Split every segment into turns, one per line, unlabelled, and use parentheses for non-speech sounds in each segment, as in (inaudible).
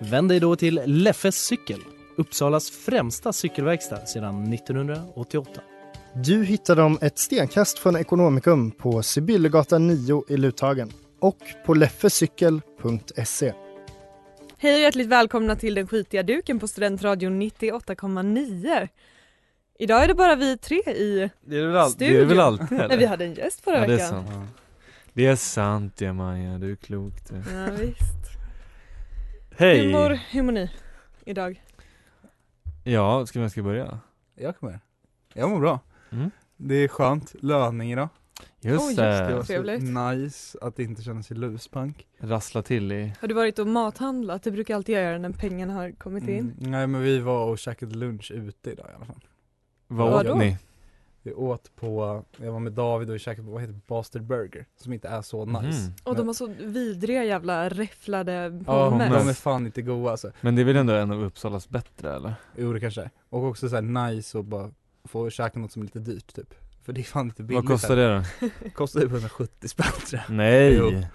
Vänd dig då till Leffes cykel, Uppsalas främsta cykelverkstad sedan 1988.
Du hittar dem ett stenkast från Ekonomikum på Sibyllegatan 9 i Luthagen och på leffecykel.se.
Hej och hjärtligt välkomna till den skitiga duken på Studentradion 98,9 Idag är det bara vi tre i,
Det är väl, all, det är
Studion.
väl alltid eller?
men vi hade en gäst förra
ja, det är
veckan
sant. Ja. Det är sant ja Maja, du är klok du.
Ja, visst.
Hej!
Hur, mår, hur mår ni idag?
Ja, ska vi ska börja?
Jag kommer. Jag mår bra.
Mm. Eh.
Det är skönt, löning idag.
Oj,
Just
just
det,
Det var
Trevligt.
så nice att inte känna sig luspank.
rassla till i,
Har du varit och mathandlat? Du brukar alltid göra det när pengarna har kommit in
Mm, nej men vi var och käkade lunch ute idag i alla fall.
vad
Vadå?
åt ni?
Vi åt på, jag var med David och vi käkade på, vad heter det, Bastard Burger? Som inte är så nice.
Mhm.
Och de har så vidriga jävla räfflade
Ja,
pommes
de är fan inte goda alltså.
Men det är väl ändå en av Uppsalas bättre eller?
Jo det kanske är. Och också såhär nice och bara få käka något som är lite dyrt typ. För det är fan inte billigt.
vad kostar det då?
det? Kostar typ 170 spänn tror jag. Jo.
Nej!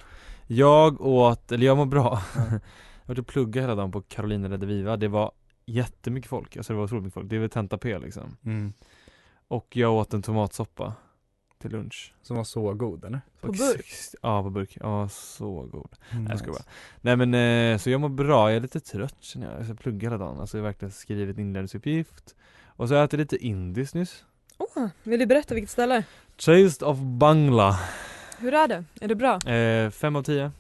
Jag åt, eller jag mår bra. (laughs) jag var och plugga hela dagen på Carolina Rediviva, det var jättemycket folk, alltså det var otroligt mycket folk, det är väl tenta P liksom. Och jag åt en tomatsoppa till lunch.
Som var så god eller?
på burk.
Ja, på burk. Ja, så god.
Mm,
Nej, jag skojar bara. Nej men eh, så jag mår bra, jag är lite trött känner jag. Jag pluggar hela dagen, alltså jag har verkligen skrivit en inlärningsuppgift. Och så har jag ätit lite indiskt nyss.
(laughs) Åh, vill du berätta vilket ställe?
Taste of Bangla,
Hur är det? Är det bra?
eh, fem av tio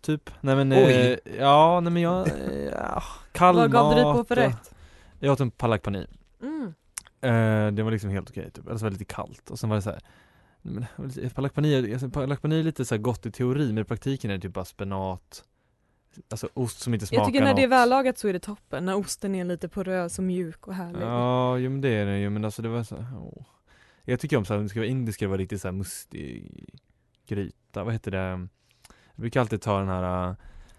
Typ. Nej men,
Oj.
eh, ja nej men jag, eh, ja, kall
Vad gav du dig på
mat
för
och-
rätt?
Jag åt en palak paneer.
Mm.
Eh, det var liksom helt okej typ, eller så var det lite kallt och sen var det så här. nej, men, det var lite- Palak paneer, alltså, palak paneer är lite så här gott i teori men i praktiken är det typ bara spenat Alltså ost som inte smakar
Jag tycker när det är
något.
vällagat så är det toppen, när osten är lite porös och mjuk och härlig.
Ja, jo men det är det ju, men alltså det var så här, åh. Jag tycker om så här, om det ska vara indiskt ska det vara riktigt så här mustig gryta, vad heter det? Jag brukar alltid ta den här, äh,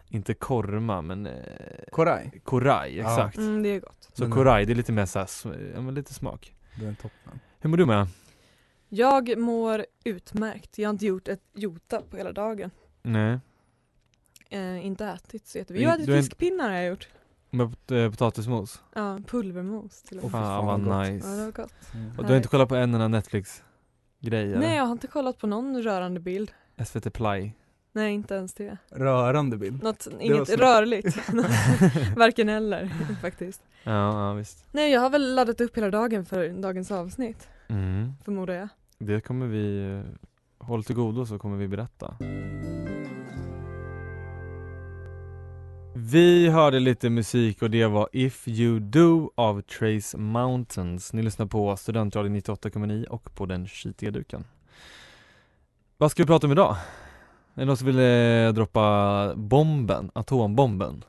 inte korma men eh,
Korai,
koraj,
Ja.
exakt.
Mm, det är gott.
Så
Men-
koraj, det är lite mer så här, sm- ja, men lite smak.
den är toppen.
Hur mår du med?
Jag mår utmärkt, jag har inte gjort ett jota på hela dagen.
Nej,
Eh, inte ätit så jättemycket. Jag
Men
har ätit
du är inte-
fiskpinnar har jag gjort.
med eh, potatismos?
Ja, pulvermos till och
Åh,
med.
fy
Fan vad
fan, vad gott.
Ja, det var
nice.
gott.
Mm.
Och du har inte kollat på en enda Netflix-grej
Nej,
eller?
jag har inte kollat på någon rörande bild.
SVT Play?
Nej, inte ens det.
Rörande bild.
Något,
var
inget
snällt.
rörligt.
(laughs)
(laughs) Varken eller (laughs) faktiskt.
Ja, ja visst.
Nej, jag har väl laddat upp hela dagen för dagens avsnitt,
Mm.
förmodar jag.
Det kommer vi, eh, håll till godo så kommer vi berätta. Vi hörde lite musik och det var If You Do av Trace Mountains. Ni lyssnar på Studentradion 98,9 och på den skitiga duken. Vad ska vi prata om idag? Är det någon som vill eh, droppa bomben, atombomben?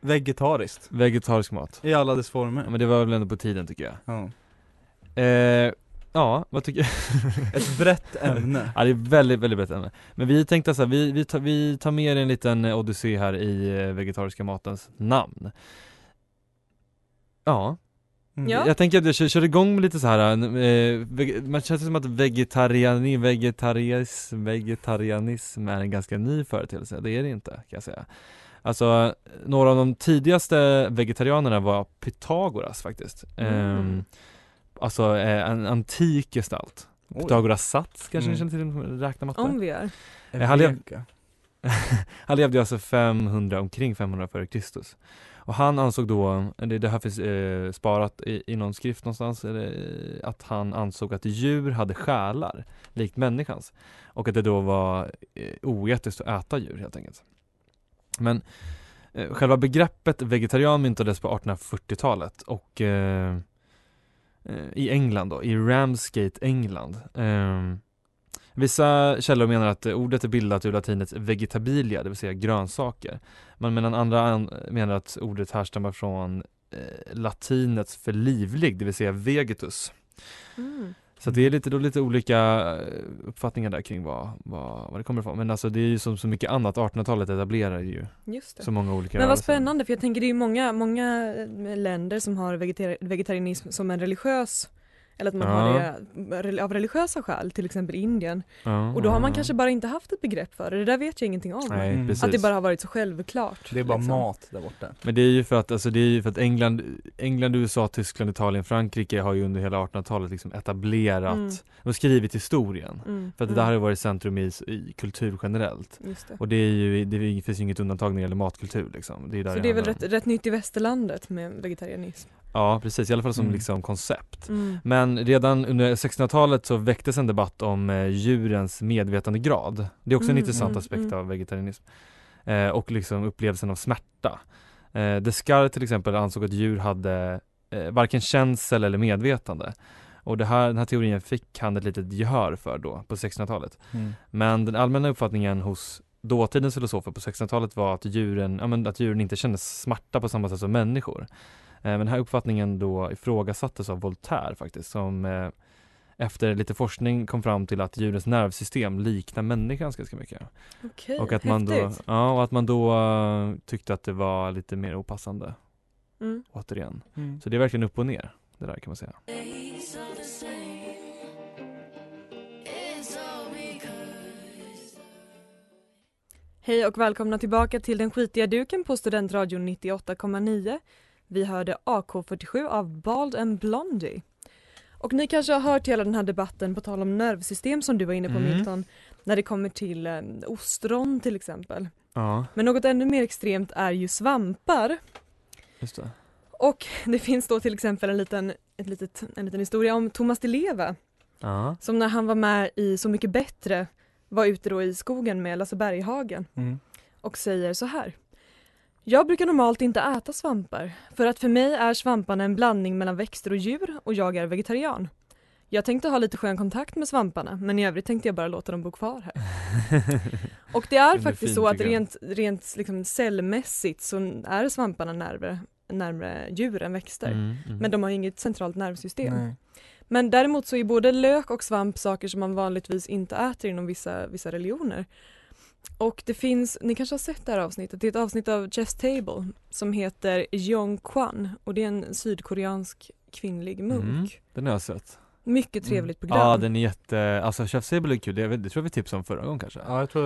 Vegetariskt.
Vegetarisk mat.
I alla dess former.
Ja, men det var väl ändå på tiden tycker jag.
Ja.
Eh, ja, vad tycker (laughs)
Ett brett ämne.
Ja det är väldigt, väldigt brett ämne. Men vi tänkte så här, vi, vi, tar, vi tar med er en liten eh, odyssé här i eh, vegetariska matens namn. Ja,
Mm.
Ja.
jag tänker att jag kör, kör igång med lite så här, eh, veg- man känns som att vegetariani, vegetaris, vegetarianism är en ganska ny företeelse, det är det inte kan jag säga. Alltså, några av de tidigaste vegetarianerna var Pythagoras faktiskt.
Mm.
Ehm, alltså eh, en antik gestalt.
Oj.
Pythagoras sats kanske ni
Mm.
känner till, räkna matte?
Om vi är.
En
Jag hade-
veka.
(laughs) Han levde alltså 500, omkring 500 före Kristus. Och han ansåg då, det, det här finns eh, sparat i, i någon skrift någonstans, eller, eh, att han ansåg att djur hade själar, likt människans. Och att det då var eh, oetiskt att äta djur helt enkelt. Men eh, själva begreppet vegetarian myntades på 1840-talet och eh, eh, i England då, i Ramsgate, England. Eh, Vissa källor menar att eh, ordet är bildat ur latinets vegetabilia, det vill säga grönsaker. Men medan andra an- menar att ordet härstammar från eh, latinets för livlig, det vill säga vegetus.
Mm.
Så att det är lite, då lite olika eh, uppfattningar där kring vad, vad, vad det kommer ifrån. Men alltså det är ju som så mycket annat, 1800-talet etablerar ju
Just det.
så många olika
Men vad
rörelser.
spännande för jag tänker det är ju många, många eh, länder som har vegetar- vegetarianism som en religiös eller att man har
Ja.
det rel- av religiösa skäl, till exempel Indien.
Ja,
Och då har man
ja.
kanske bara inte haft ett begrepp för det, det där vet jag ingenting om.
Mm. Nej,
Mm.
precis.
Att det bara har varit så självklart.
Det är bara
liksom.
mat där borta.
Men det är ju för att, alltså det är ju för att England, England, USA, Tyskland, Italien, Frankrike har ju under hela 1800-talet liksom etablerat
Mm.
och skrivit historien.
Mm,
För att det där har ju varit centrum i, i kultur generellt.
mm, Just det.
Och det, är ju, det är ju- finns ju inget undantag när det gäller matkultur liksom. Det är ju där
Så det är väl
handlar
rätt,
om.
rätt nytt i västerlandet med vegetarianism.
Ja precis, i alla fall som
Mm.
liksom koncept. Men redan under 1600-talet så väcktes en debatt om eh, djurens medvetandegrad. Det är också en
Mm,
intressant
mm,
aspekt
mm.
av vegetarianism. Eh, och liksom upplevelsen av smärta. Eh, Descartes till exempel ansåg att djur hade eh, varken känsel eller medvetande. Och det här, den här teorin fick han ett litet gehör för då på 1600-talet. Men den allmänna uppfattningen hos dåtidens filosofer på 1600-talet var att djuren, ja, men att djuren inte kände smärta på samma sätt som människor. Eh, men den här uppfattningen då ifrågasattes av Voltaire faktiskt som eh, efter lite forskning kom fram till att djurens nervsystem liknar människans ganska mycket.
Okej,
Och att man då,
häftigt.
ja, och att man då eh, tyckte att det var lite mer opassande
Mm.
återigen. Så det är verkligen upp och ner det där kan man säga.
Hej och välkomna tillbaka till den skitiga duken på Studentradion 98,9. Vi hörde AK47 av Bald and Blondie. Och ni kanske har hört hela den här debatten på tal om nervsystem som du var inne på
Mm.
Milton, när det kommer till eh, ostron till exempel.
Ja,
Men något ännu mer extremt är ju svampar.
just det.
Och det finns då till exempel en liten, ett litet, en liten historia om Thomas Di Leva
Ja,
som när han var med i Så mycket bättre var ute då i skogen med Lasse Berghagen
Mm.
och säger så här. Jag brukar normalt inte äta svampar för att för mig är svamparna en blandning mellan växter och djur och jag är vegetarian. Jag tänkte ha lite skön kontakt med svamparna men i övrigt tänkte jag bara låta dem bo kvar här.
(laughs)
och det är
Det är
faktiskt
fint,
så att
tycker jag.
rent, rent liksom cellmässigt så är svamparna närmare, närmare djur än växter.
Mm, mm.
Men de har inget centralt nervsystem.
Nej.
Men däremot så är både lök och svamp saker som man vanligtvis inte äter inom vissa, vissa religioner. Och det finns, ni kanske har sett det här avsnittet, det är ett avsnitt av Chess Table som heter Jong Kwan och det är en sydkoreansk kvinnlig munk.
Mm. Den har jag sett.
Mycket trevligt program.
Mm. Ja den är jätte, alltså Chef Sable är kul, det, det tror jag vi tipsade om förra gången kanske.
Ja jag tror,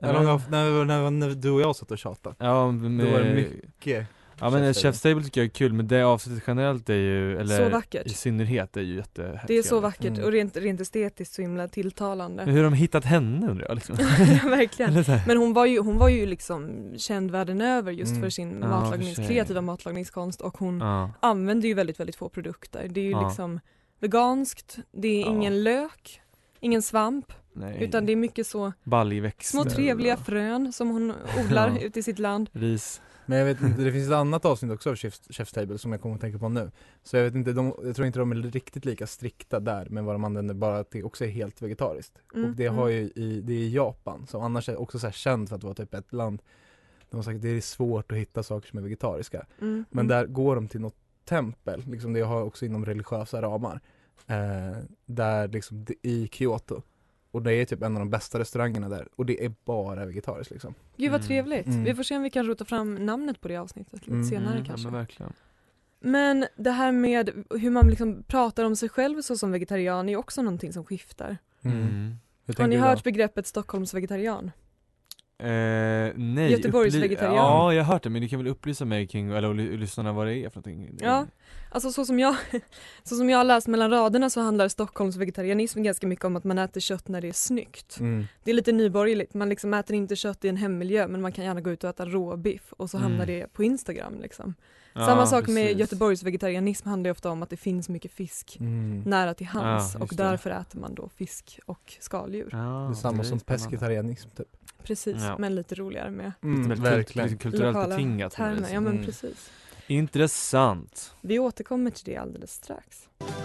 Eller-
eller, när, när, när, när du och jag satt och tjatade.
Ja, med,
Då var det mycket. Okej.
ja men
Chef
Chef Stable tycker jag är kul men det avsnittet generellt är ju, eller
Så vackert.
i synnerhet är ju jättehäftigt.
Det är så vackert
Mm.
och rent, rent estetiskt så himla
Men (laughs)
tilltalande. (laughs)
hur har de hittat henne undrar jag liksom?
Verkligen.
Eller så här.
Men hon var ju, hon var ju liksom känd världen över just
Mm.
för sin
Ja,
matlagnings,
för sig.
kreativa matlagningskonst och hon
Ja,
använder ju väldigt, väldigt få produkter. Det är ju
Ja.
liksom veganskt, det är
Ja.
ingen lök, ingen svamp,
nej.
utan det är mycket så
Baljväxter
små trevliga
och
frön som hon odlar
Ja.
ute i sitt land.
Ris.
Men jag vet inte, det finns ett annat avsnitt också av Chef's, Chef's Table som jag kommer att tänka på nu. Så jag vet inte, de, jag tror inte de är riktigt lika strikta där med vad de använder, bara att det också är helt vegetariskt.
Mm,
Och det
mm.
har ju i, det är i Japan, som annars är också så här känt för att vara typ ett land, de har sagt att det är svårt att hitta saker som är vegetariska.
Mm.
Men där går de till något tempel, liksom det har också inom religiösa ramar. Eh, där liksom det, i Kyoto. Och det är typ en av de bästa restaurangerna där. Och det är bara vegetariskt liksom.
Gud vad
Mm.
trevligt.
Mm.
Vi får se om vi kan rota fram namnet på det avsnittet lite
Mm.
senare
Mm,
kanske.
Ja, men verkligen.
Men det här med hur man liksom pratar om sig själv så som vegetarian är ju också någonting som skiftar.
Mm.
Hur
Har ni
tänker du
hört begreppet Stockholmsvegetarian?
Eh, nej,
Göteborgs
upply-
vegetarian.
Ja, jag har hört det men du kan väl upplysa mig kring, eller ly- lyssnarna vad det är för någonting?
Ja. Alltså så som jag, (laughs) så som jag har läst mellan raderna så handlar Stockholmsvegetarianism ganska mycket om att man äter kött när det är snyggt.
då? Mm.
Det är lite nyborgerligt, man liksom äter inte kött i en hemmiljö men man kan gärna gå ut och äta råbiff och så hamnar
Mm.
det på Instagram liksom.
Ja,
Samma sak med
precis.
Göteborgs vegetarianism handlar ju ofta om att det finns mycket fisk
Mm.
nära till hands
Ja,
och
just det.
därför äter man då fisk och skaldjur.
Ja,
det är samma som
spännande.
pescetarianism typ.
Precis,
Ja.
men lite roligare med
Lite mer kult-
Mm, verkligen.
lite Mm, kulturellt
Lokala
betingat. liksom. på något
termer.
vis.
Ja men
Mm.
precis.
Intressant.
Vi återkommer till det alldeles strax.
Thank you.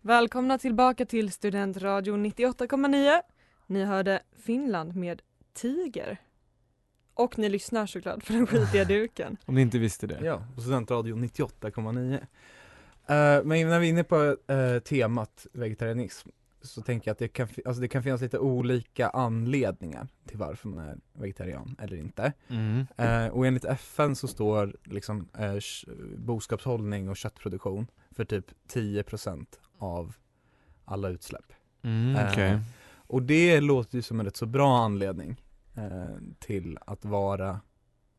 Välkomna tillbaka till Studentradion 98,9. Ni hörde Finland med Tiger. Och ni lyssnar såklart på den
(laughs)
skitiga duken.
Om ni inte visste det.
Ja, på Studentradion 98,9. Eh, men när vi är inne på eh, temat vegetarianism så tänker jag att det kan, fi- alltså det kan finnas lite olika anledningar till varför man är vegetarian eller inte.
Mm.
Eh, och enligt FN så står liksom eh, kö- boskapshållning och köttproduktion för typ 10% av alla utsläpp.
Mm, okej.
Eh, och det låter ju som en rätt så bra anledning eh, till att vara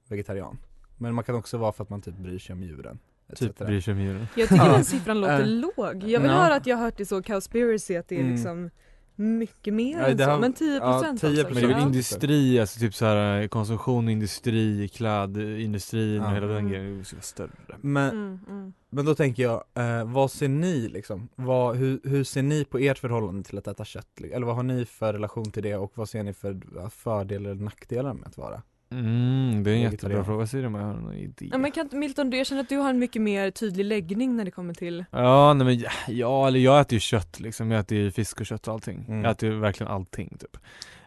vegetarian. Men man kan också vara för att man typ bryr sig om djuren. etc.
Typ bryr sig om djuren.
Jag tycker
Ja.
den siffran låter
Eh,
låg. Jag vill
ja.
höra att jag har hört det så, cowspiracy, att det är
Mm.
liksom mycket mer
Ja,
än
det
så.
har-
Men 10
ja,
procent
10%.
Men det är väl
Ja.
industri, alltså typ så här konsumtion, industri, klädindustrin och
Ja.
hela den
Mm.
grejen. Det ska vara större.
Men,
Mm, mm.
men då tänker jag, eh, vad ser ni liksom? Vad, hur, hur ser ni på ert förhållande till att äta kött? Eller vad har ni för relation till det och vad ser ni för ja, fördelar eller nackdelar med att vara?
Mm, det är en jättebra
Vegetarian.
fråga. Vad säger du om jag har någon idé?
Ja, men kan, inte- Milton, du- jag känner att du har en mycket mer tydlig läggning när det kommer till
Ja, nej men ja, eller jag äter ju kött liksom. Jag äter ju fisk och kött och allting.
Mm.
Jag äter ju verkligen allting typ.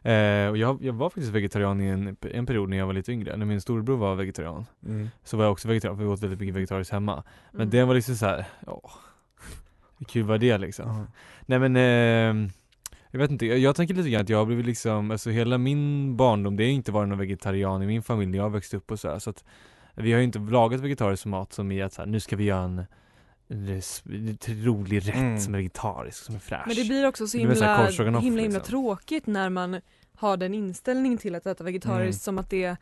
Eh, och jag, jag var faktiskt vegetarian i en, en period när jag var lite yngre. När min storebror var vegetarian så var jag också vegetarian för vi åt väldigt mycket vegetariskt hemma. Men
Mm.
det var liksom så här, ja. Hur kul var det liksom?
Ja.
Nej men eh, jag vet inte, jag, jag tänker lite grann att jag har blivit liksom, alltså hela min barndom, det har ju inte varit någon vegetarian i min familj när jag växte upp och sådär så att vi har ju inte lagat vegetarisk mat som i att så här, nu ska vi göra en, en res- en rolig rätt
Mm.
som är vegetarisk, som är fräsch.
Men det blir också så
Det blir så här
himla,
korvstroganoff,
himla, himla
liksom.
tråkigt när man har den inställningen till att äta vegetariskt
Mm.
som att det är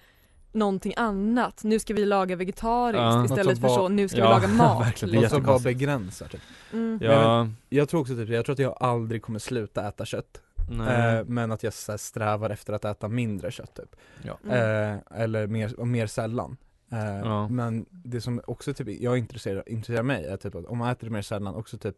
någonting annat. Nu ska vi laga vegetariskt
Ja. Något
istället
som
för
var-
så, nu ska
Ja,
vi
(laughs)
laga mat. liksom.
verkligen. Det är
Vad som bara
jättekonstigt.
begränsar typ.
Mm.
Ja,
Jag tror också typ, jag tror att jag aldrig kommer sluta äta kött
nej.
eh, Men att jag så här, strävar efter att äta mindre kött typ
Mm.
eh, Eller mer, och mer sällan eh,
Ja.
Men det som också typ, jag intresserar, intresserar mig är typ att om man äter det mer sällan också typ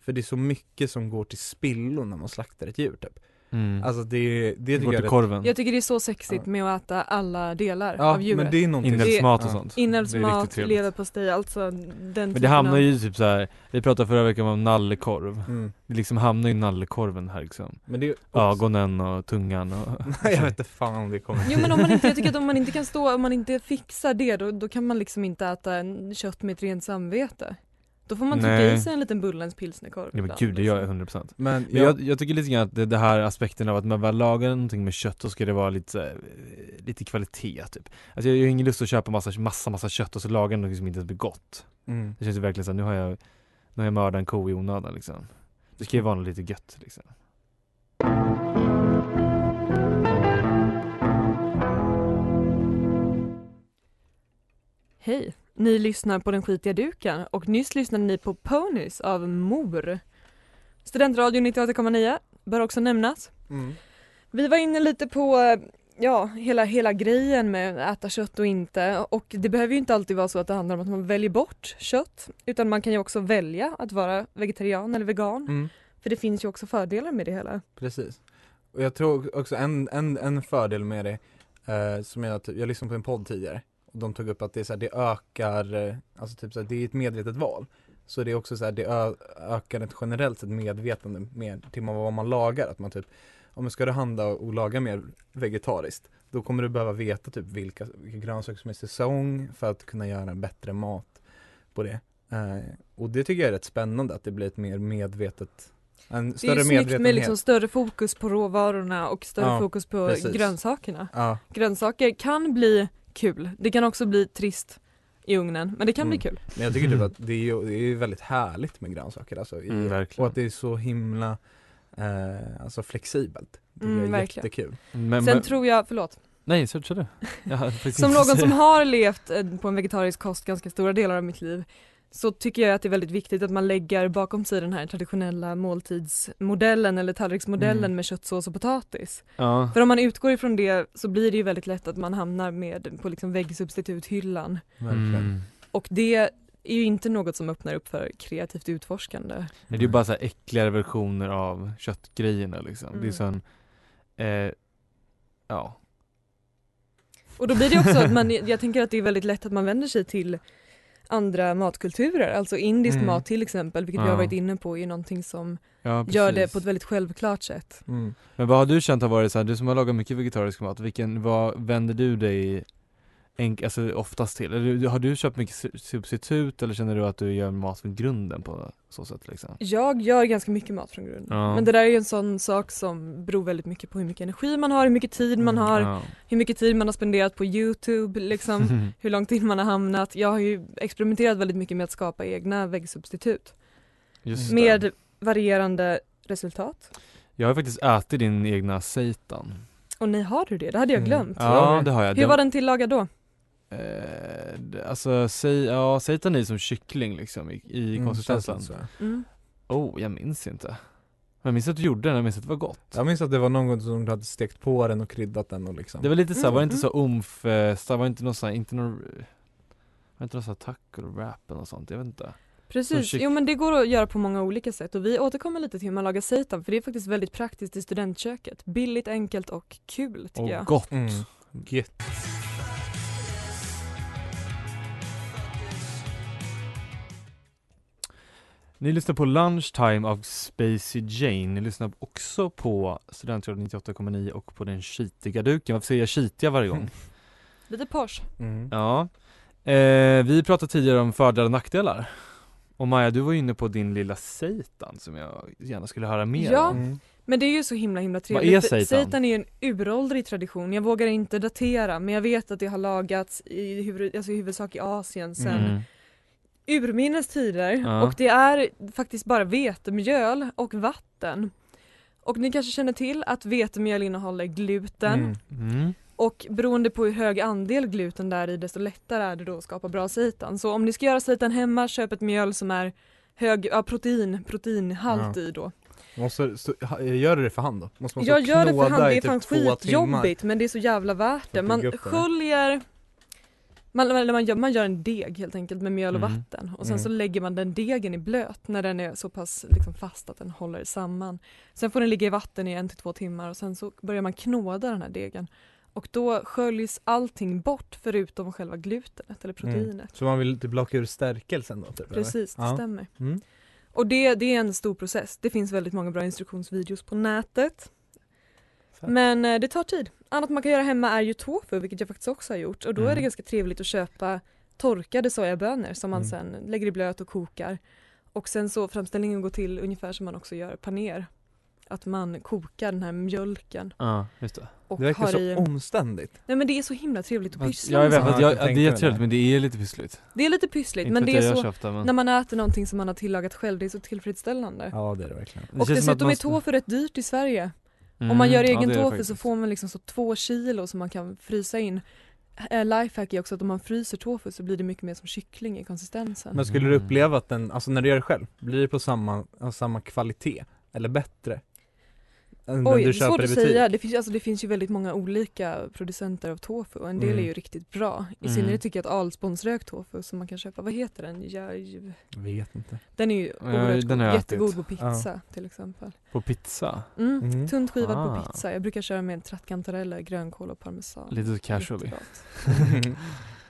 För det är så mycket som går till spillo när man slaktar ett djur typ
mm.
Alltså det, det
det går
tycker jag
till
är rätt-
korven,
Jag tycker det är så sexigt med att äta alla delar
Ja
av djuret.
men det är någonting
inälvsmat och
Ja.
sånt. Det är riktigt
Inälvsmat,
trevligt.
leverpastej, alltså den
Men det hamnar ju typ så här. vi pratade förra veckan om nallekorv.
mm.
Det liksom hamnar ju nallekorven här liksom.
Men det är också, (laughs)
Ögonen och tungan och...
Jag vet inte fan om det kommer
Jo men om man inte, jag tycker att om man inte kan stå, om man inte fixar det då, då kan man liksom inte äta en kött med ett rent samvete. Då får man trycka
Nej.
i sig en liten bullens pilsnerkorv.
Ja men
ibland,
gud, det gör jag
liksom.
100%
Men,
Men jag, jag tycker lite grann att det, det här aspekten av att man väl lagar någonting med kött så ska det vara lite, så här, eh, lite kvalitet typ Alltså jag, jag har ingen lust att köpa massa, massa, massa kött och så lagar jag något som inte ens blir gott
mm.
Det känns ju verkligen såhär, nu har jag, nu har jag mördat en ko i onödan liksom Det ska ju vara något lite gött liksom
Hej! Ni lyssnar på Den skitiga duken och nyss lyssnade ni på Ponies av Mor. Studentradion 98,9 bör också nämnas.
Mm.
Vi var inne lite på eh, ja, hela, hela grejen med att äta kött och inte och det behöver ju inte alltid vara så att det handlar om att man väljer bort kött utan man kan ju också välja att vara vegetarian eller vegan
Mm.
för det finns ju också fördelar med det hela.
Precis. Och jag tror också en, en, en fördel med det, eh, som är att jag lyssnade på en podd tidigare och de tog upp att det, är så här, det ökar, eh, alltså typ så här, det är ett medvetet val. Så det är också så här, det ö, ökar ett generellt sett medvetande med, till vad man lagar, att man typ, om man ska du handla och, och laga mer vegetariskt, då kommer du behöva veta typ vilka, vilka grönsaker som är i säsong för att kunna göra en bättre mat på det. Eh, och det tycker jag är rätt spännande att det blir ett mer medvetet, en
Det är
större
ju snyggt med
medvetenhet.
liksom större fokus på råvarorna och större
Ja,
fokus på
precis.
grönsakerna.
Ja.
Grönsaker kan bli kul, det kan också bli trist i ugnen, men det kan bli
Mm.
kul.
Men jag tycker typ att det är ju det är ju väldigt härligt med grönsaker alltså, i,
Mm, verkligen.
Och att det är så himla eh, alltså flexibelt Det är
Mm, verkligen.
jättekul
men,
Sen
men,
tror jag, förlåt,
Nej, så,
(laughs)
så du? Jag hade faktiskt
som
inte (laughs)
någon som
säga.
har levt eh, på en vegetarisk kost ganska stora delar av mitt liv så tycker jag att det är väldigt viktigt att man lägger bakom sig den här traditionella måltidsmodellen eller tallriksmodellen
Mm.
med köttsås och potatis.
Ja,
För om man utgår ifrån det så blir det ju väldigt lätt att man hamnar med på liksom väggsubstituthyllan
Verkligen
mm.
Och det är ju inte något som öppnar upp för kreativt utforskande.
Det är ju bara så här äckligare versioner av köttgrejerna liksom Det är
Mm.
sån, eh, ja (laughs)
Och då blir det också att man, jag tänker att det är väldigt lätt att man vänder sig till andra matkulturer, alltså indisk
Mm.
mat till exempel, vilket vi
Ja.
har varit inne på, är någonting som
Ja, precis.
gör det på ett väldigt självklart sätt.
Mm.
Men vad har du känt har varit så här, du som har lagat mycket vegetarisk mat, vilken, vad vänder du dig enk, alltså oftast till? Eller har du köpt mycket su- substitut eller känner du att du gör mat från grunden på så sätt liksom?
Jag gör ganska mycket mat från grunden.
Ja.
Men det där är ju en sån sak som beror väldigt mycket på hur mycket energi man har, hur mycket tid man har,
Mm, Ja.
hur mycket tid man har spenderat på Youtube,
(laughs)
liksom, hur långt in man har hamnat. Jag har ju experimenterat väldigt mycket med att skapa egna väggsubstitut
Just det.
med varierande resultat.
Jag har faktiskt ätit din egna seitan.
Och nej, har du det? Det hade jag
Mm.
glömt.
Ja, det har jag.
Hur var den tillagad då?
Eh, det- alltså, sei, ja, seitan är som kyckling liksom i, i
Mm,
konsistensen.
känns lite så.
Mm.
Oh, jag minns inte. Men jag minns att du gjorde den, jag minns att det var gott.
Jag minns att det var någon gång som du hade stekt på den och kryddat den och liksom
Det var lite såhär,
Mm,
var det inte
mm.
så omf, eh, så var det inte någon sån här, inte någon, var det inte någon sån här taco eller wrap eller något sånt, jag vet inte.
Precis,
kyck-
jo men det går att göra på många olika sätt och vi återkommer lite till hur man lagar seitan för det är faktiskt väldigt praktiskt i studentköket. Billigt, enkelt och kul tycker
Och
jag.
gott.
Mm. Gött.
Ni lyssnar på Lunchtime av Spacey Jane. Ni lyssnar också på Studentradion 98,9 och på den skitiga duken. Varför säger jag skitiga
(laughs)
varje gång?
Lite posh.
Mm.
Ja. Eh, vi pratade tidigare om fördelar och nackdelar. Och Maja, du var ju inne på din lilla seitan som jag gärna skulle höra mer
Ja,
om.
Mm.
Men det är ju så himla himla
Vad
trevligt.
är
för
seitan?
Seitan är ju en uråldrig tradition. Jag vågar inte datera men jag vet att det har lagats i, huvud, alltså i huvudsak i Asien sen
Mm.
urminnes tider
Ja.
och det är faktiskt bara vetemjöl och vatten. Och ni kanske känner till att vetemjöl innehåller gluten
Mm.
Mm.
Och beroende på hur hög andel gluten där i desto lättare är det då att skapa bra seitan. Så om ni ska göra seitan hemma, köp ett mjöl som är hög ja, protein, proteinhalt i då.
Måste, så, ha- gör du det för hand då? Måste man
Jag
stå och
gör det för
knåda
hand,
i
det är
typ
fan
två timmar?
skitjobbigt men det är så jävla värt det.
bygga
Man
upp det, eller?
sköljer man, man, man, gör, man gör en deg helt enkelt med mjöl och
Mm.
vatten och sen
Mm.
så lägger man den degen i blöt när den är så pass liksom, fast att den håller samman. Sen får den ligga i vatten i en till två timmar och sen så börjar man knåda den här degen och då sköljs allting bort förutom själva glutenet eller
Mm.
proteinet.
Så man vill typ locka ur stärkelsen då? Typ, eller?
Precis, det
Ja.
stämmer.
Mm.
Och det, det är en stor process. Det finns väldigt många bra instruktionsvideos på nätet.
Fett.
Men eh, det tar tid. Annat man kan göra hemma är ju tofu, vilket jag faktiskt också har gjort. Och då är
Mm.
det ganska trevligt att köpa torkade sojabönor som man
Mm.
sen lägger i blöt och kokar. Och sen så framställningen går till ungefär som man också gör paner. Att man kokar den här mjölken
Ja, just det.
och
Det verkar
har
så
i...
omständigt.
Nej men det är så himla trevligt att
Fast
pyssla
Jag är
med
väl,
sånt.
sånt.
att
Ja,
jag,
jag kan
det är
tänka mig
trevligt
det.
men det är lite pyssligt.
Det är lite pyssligt
Inte
men
för
det
att
är
jag
så,
köpt det men.
när man äter någonting som man har tillagat själv, det är så tillfredsställande.
Ja det är det verkligen.
Det
Och
känns som att
dessutom
man
är
ska-
tofu rätt dyrt i Sverige. Om
Mm,
man gör
ja,
egen
det är det
tofu så
faktiskt.
får man liksom så två kilo som man kan frysa in. Eh, Lifehack är också att om man fryser tofu så blir det mycket mer som kyckling i konsistensen.
Men skulle du uppleva att den, alltså när du gör det själv, blir det på samma, alltså, samma kvalitet? Eller bättre? Än
Oj,
den du
det är svårt
köper i
att
butik?
säga. Det finns, alltså, det finns ju väldigt många olika producenter av tofu och en del
Mm.
är ju riktigt bra. I
Mm.
synnerhet tycker jag att Ahlsbons rökt tofu som man kan köpa, vad heter den? Ja, ju-
Vet inte.
Den är ju oerhört
den
god.
har jag ätit.
jättegod på pizza
Ja.
till exempel.
På pizza?
Mm.
Mm.
Tunt skivad
Ah.
på pizza. Jag brukar köra med trattkantareller, grönkål och parmesan.
Lite casually.
Jättegott. (laughs) Nej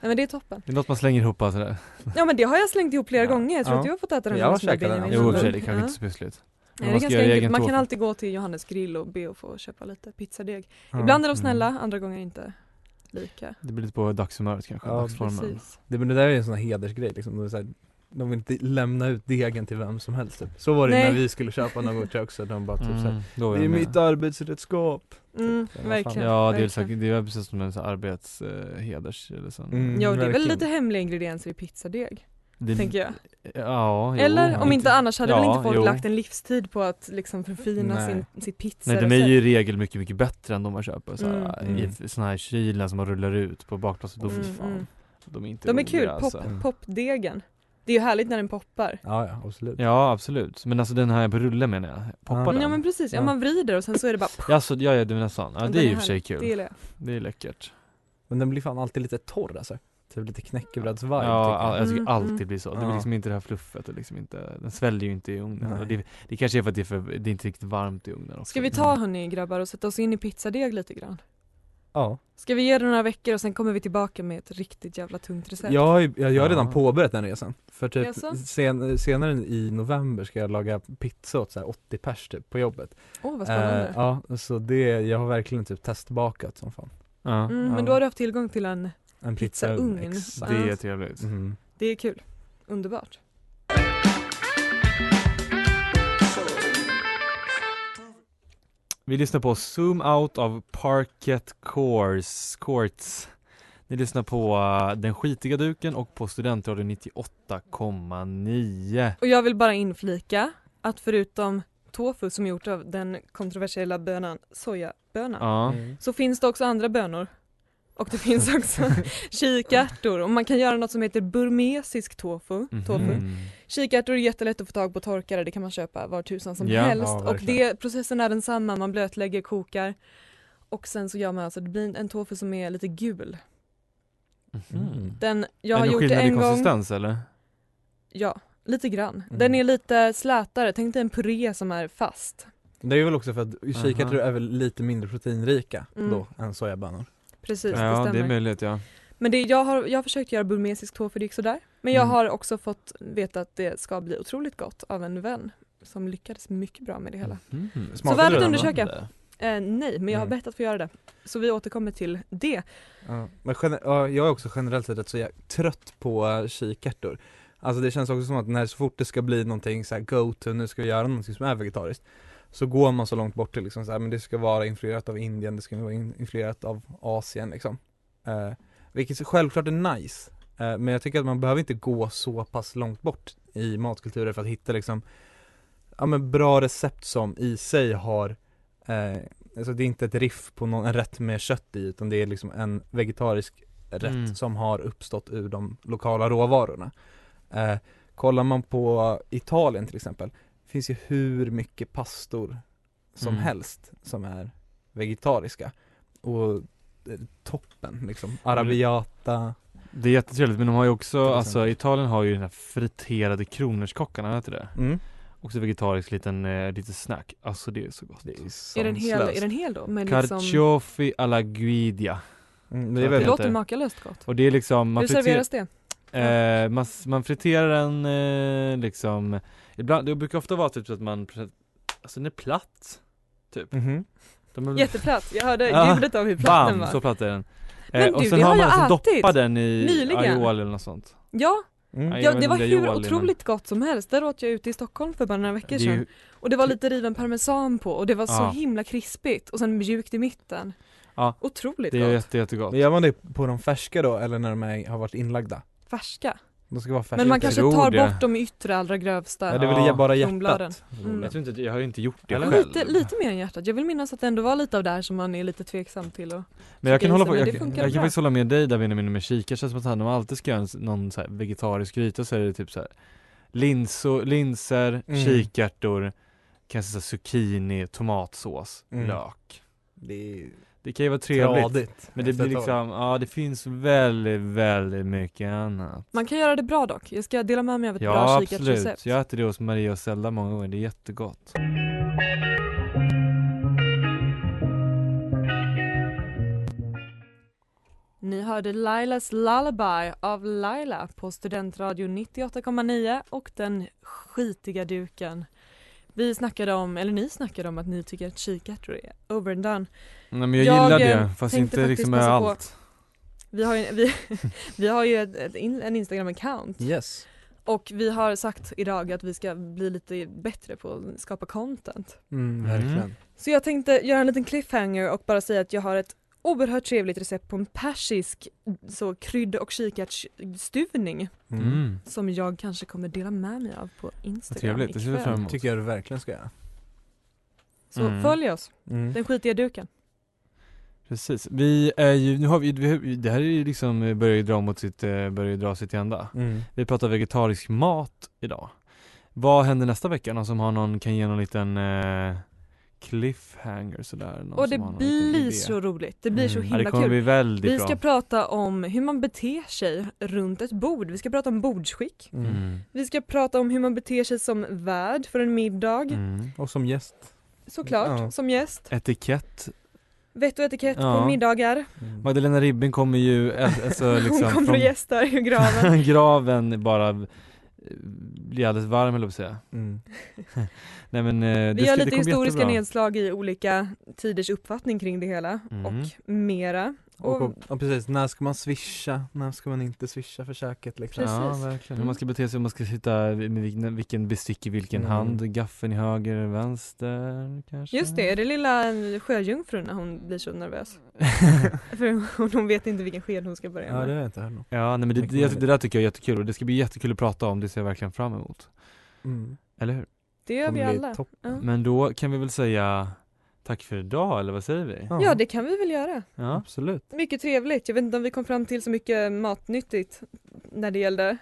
men det är toppen.
Det är något man slänger ihop bara sådär.
Ja men det har jag slängt ihop flera
Ja.
gånger, jag tror
Ja.
att du har fått äta den
Jag
hemma
har
hos mig,
käkat den,
Benjamin.
Jo i och för
absolut.
sig, det kanske
Ja.
inte är så pyssligt.
Nej, det är
man ska
ganska
göra
enkelt,
egen
man kan
tofu.
alltid gå till Johannes grill och be att få köpa lite pizzadeg. Ibland
Mm.
är de snälla, andra gånger inte lika.
Det blir lite på dagshumöret kanske,
Ja,
dagsformen.
Precis.
Det, men det där är ju en sån här hedersgrej liksom, de, är så här, de vill inte lämna ut degen till vem som helst typ. Så var det
Nej.
när vi skulle köpa något tror jag också, de bara typ så här,
Mm, då är
Det är
jag med.
mitt arbetsredskap!
Mm,
fan.
verkligen.
Typ. Ja det är,
verkligen.
säkert, det är precis som en sån här arbets, eh, heders eller sån.
Mm.
Ja, och det är väl
verkligen.
lite hemliga ingredienser i pizzadeg,
Det,
tänker jag.
Ja, jo,
Eller om
lite.
inte annars hade väl
Ja,
inte folk
jo.
lagt en livstid på att liksom förfina
Nej.
sin, sitt pizza
Nej de är ju i regel mycket, mycket bättre än de man köper så här,
Mm.
i f- såna här kylen som man rullar ut på bakplåtet. Då, fy
Mm,
fan.
mm.
De är inte
De är
roliga,
kul,
alltså.
pop, popdegen. Det är ju härligt när den poppar.
Ja ja, absolut.
Ja absolut, men alltså den här på rulle menar jag, poppar
Ja.
den?
Ja men precis, ja,
Ja.
man vrider och sen så är det bara
Ja, alltså, ja, ja du menar sån, ja,
Den
det är
är
ju för sig
Det
kul,
gillar jag.
det är läckert
Men den blir fan alltid lite torr alltså. Typ lite knäckebrödsvibe
Ja
tycker jag.
all, jag tycker
Mm,
alltid
mm.
blir så, det blir
Ja.
liksom inte det här fluffet och liksom inte, den sväller ju inte i ugnen
Nej.
och det, det kanske är för att det är, för, det är inte riktigt varmt i ugnen också
Ska vi ta hörni grabbar och sätta oss in i pizzadeg lite grann?
Ja.
Ska vi ge det några veckor och sen kommer vi tillbaka med ett riktigt jävla tungt recept?
Jag har, ju- jag, jag har redan
Ah.
påbörjat den resan. För typ
Jaså?
sen, senare i november ska jag laga pizza åt så här 80 pers typ på jobbet.
Åh vad spännande.
Eh, ja, så det, jag har verkligen typ testbakat som fan.
ja.
mm,
ja.
men då har du haft tillgång till en,
En
Pizzaugn.
Exakt.
Det är trevligt.
Mm.
det är kul. Underbart.
Vi lyssnar på Zoom Out av Parket Course, Courts. Ni lyssnar på eh, Den skitiga duken och på Studentradion 98,9.
Och jag vill bara inflika att förutom tofu som är gjort av den kontroversiella bönan sojabönan
Ja.
så finns det också andra bönor. Och det
(laughs)
finns också kikärtor och man kan göra något som heter burmesisk tofu.
Mhm.
tofu. Kikärtor är jättelätt att få tag på torkare, det kan man köpa var tusan som
Ja,
helst.
ja,
och
verkligen.
det, processen är densamma, man blötlägger, kokar och sen så gör man alltså, det blir en tofu som är lite gul.
Mhm.
Den, jag
Är
har
det
gjort det
skillnad i
en gång.
konsistens eller?
Ja, lite grann.
Mm.
Den är lite slätare, tänk dig en puré som är fast.
Det är väl också för att kikärtor
Aha.
är väl lite mindre proteinrika
Mm.
då än sojabönor.
Precis, det
Ja,
stämmer.
det är möjligt ja.
Men det, jag, har, jag har försökt göra burmesisk tofu, det gick sådär. Men jag
Mm.
har också fått veta att det ska bli otroligt gott av en vän som lyckades mycket bra med det hela.
Mhm.
Smakade
så värt
du
att
den då?
undersöka. Eh, nej, men jag har
Mm.
bett att få göra det. Så vi återkommer till det.
Ja, men gener- ja, jag är också generellt sett rätt så jä- trött på eh, kikärtor. Alltså det känns också som att när så fort det ska bli någonting så här go to, nu ska vi göra någonting som är vegetariskt så går man så långt bort till liksom så här, men det ska vara influerat av Indien, det ska vara in- influerat av Asien liksom. Eh, vilket så självklart är nice, eh, men jag tycker att man behöver inte gå så pass långt bort i matkulturer för att hitta liksom, ja men bra recept som i sig har eh, Alltså det är inte ett riff på någon, en rätt med kött i utan det är liksom en vegetarisk rätt
Mm.
som har uppstått ur de lokala råvarorna. Eh, kollar man på Italien till exempel, det finns ju hur mycket pastor som
Mm.
helst som är vegetariska. Och eh, toppen
Mm.
liksom, arabiata
Det är jättetrevligt men de har ju också,
Till
alltså
exempel.
Italien har ju den här friterade kronärtskockan, vet du det?
mm.
Också vegetarisk liten, eh, liten snack. Alltså det är så gott.
Är den, hel, är den hel då? Men liksom,
Carciofi alla guidia.
Mm, det är
Jag
det
väldigt,
låter makalöst gott.
Och det är liksom, man,
Hur
friter,
serveras det?
eh, man, s- man friterar den eh, liksom, ibland, det brukar ofta vara typ så att man, pre- alltså den är platt.
Mhm.
De är,
Jätteplatt, jag hörde
Ja.
ljudet av hur platt den
bam,
var.
så platt är den. Eh,
Men
och
du,
sen
det
har
har
man
jag
alltså
ätit
doppat den i
nyligen.
aioli eller något sånt.
Ja,
Mm.
Nej,
ja,
vet
det
inte
var
om är
hur
aioli, men
otroligt gott som helst. Där åt jag ute i Stockholm för bara några
det
veckor
är ju
sedan. Och det var lite riven parmesan på och det var så
Ja.
himla krispigt och sen mjukt i mitten.
Ja.
Otroligt
Det
gott.
är jätte, jättegott.
Men gör man det på de färska då eller när de är, har varit inlagda?
Färska.
De ska vara färska.
Men man kanske
tror
tar
det.
bort de yttre allra grövsta.
Ja det är väl
Ja.
bara
Kronbladen.
hjärtat.
Mm.
Jag, tror inte, jag har ju inte gjort det
Men
själv.
Lite, lite mer än hjärtat. Jag vill minnas att det ändå var lite av det här som man är lite tveksam till. Och...
Men jag kan
Grisen,
hålla på,
men
jag,
det
jag kan
funkar bra.
faktiskt hålla med dig där Benjamin med kikärtor, känns som att han, när man alltid ska göra en, s- någon så här vegetarisk gryta så är det typ så här linso, linser,
Mm.
kikärtor, kanske så här zucchini, tomatsås,
Mm.
lök.
Det är
Det kan ju vara trevligt,
tradigt.
men det
efter
blir
ett tag.
liksom, ja det finns väldigt, väldigt mycket annat.
Man kan göra det bra dock. Jag ska dela med mig av ett
Ja
bra
absolut,
kikärtsrecept.
jag äter det hos Maria och Zelda många gånger, det är jättegott.
Ni hörde Lailas Lullaby av Laila på Studentradio 98,9 och den skitiga duken. Vi snackade om, eller ni snackade om att ni tycker att kikärtor är over and done.
Nej men jag,
Jag,
gillar
eh,
det, fast
tänkte
inte
faktiskt
liksom
passa på-
överallt.
Vi har ju, (laughs) vi, vi har ju ett, ett, in- en Instagram-account
Mm.
Yes.
och vi har sagt idag att vi ska bli lite bättre på att skapa content.
Mm,
verkligen.
verkligen.
Så jag tänkte göra en liten cliffhanger och bara säga att jag har ett oerhört trevligt recept på en persisk så krydd och kikärtsstuvning
Mm.
som jag kanske kommer dela med mig av på
Vad
Instagram
trevligt, det ser vi
ikväll.
fram emot.
Tycker jag du verkligen ska göra.
Så
Mm.
följ oss,
Mm.
den skitiga duken.
Precis. Vi är ju, nu har vi, vi det här är ju liksom, eh, börjar ju dra mot sitt, eh, börjar ju dra sitt ända.
Mm.
Vi pratar vegetarisk mat idag. Vad händer nästa vecka? Någon som har någon, kan ge någon liten eh, cliffhanger sådär? Någon
Och
som
det
har någon liten
blir
idé?
så roligt, det blir så
Mm.
Ja, det
himla
kommer
kul.
bli väldigt
Vi ska
bra.
prata om hur man beter sig runt ett bord, vi ska prata om bordsskick.
Mm.
Mm.
Vi ska prata om hur man beter sig som värd för en middag,
Mm.
Och som gäst.
såklart,
Ja.
som gäst.
Etikett,
vett och etikett
Ja.
på middagar.
Mm.
Magdalena Ribbing kommer ju eh, alltså, liksom,
Hon kommer och
från
gästar i graven.
(laughs) graven bara eh, bli alldeles varm eller på att säga.
Mm.
Nej men eh, det,
Vi
ska,
gör
det
lite
kommer
historiska
jättebra.
nedslag i olika tiders uppfattning kring det hela
Mm.
och mera.
Och,
Och-
och, och precis, när ska man swisha? När ska man inte swisha för köket liksom?
Precis. Mm.
Ja, verkligen. Hur man ska bete sig, hur man ska sitta, med vilken, vilken bestick i vilken
Mm.
hand, gaffeln i höger, vänster kanske?
Just det, är det lilla sjöjungfrun när hon blir så
(laughs)
nervös? För hon, hon vet inte vilken sked hon ska börja
Ja,
med.
det har jag inte hört om.
Ja, nej, men det, det, det, där tycker jag är jättekul och det ska bli jättekul att prata om, det ser jag verkligen fram emot.
Mm.
Eller hur?
Det gör vi
Kommer bli
alla.
topp.
Ja.
Men då kan vi väl säga tack för idag, eller vad säger vi?
ja, det kan vi väl göra.
Ja.
absolut.
Mycket trevligt. Jag vet inte om vi kom fram till så mycket matnyttigt när det gällde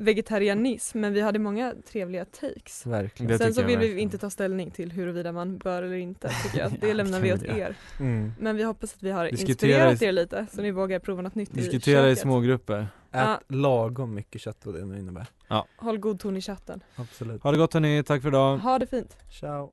vegetarianism, men vi hade många trevliga takes.
Verkligen.
Det
Sen så
tycker jag
vill vi
verkligen.
inte ta ställning till huruvida man bör eller inte, tycker jag.
(laughs) Ja,
Det
det
lämnar
kan
vi
vi
åt
göra.
er.
Mm.
Men vi hoppas att vi har
Diskutera
inspirerat
i-
er lite, så ni vågar prova något nytt
Diskutera
i
i
köket.
smågrupper.
Ja.
Ät lagom mycket kött vad det nu innebär.
Håll god ton i chatten.
Absolut.
Ha det gott hörni, tack för idag.
Ha det fint.
Ciao.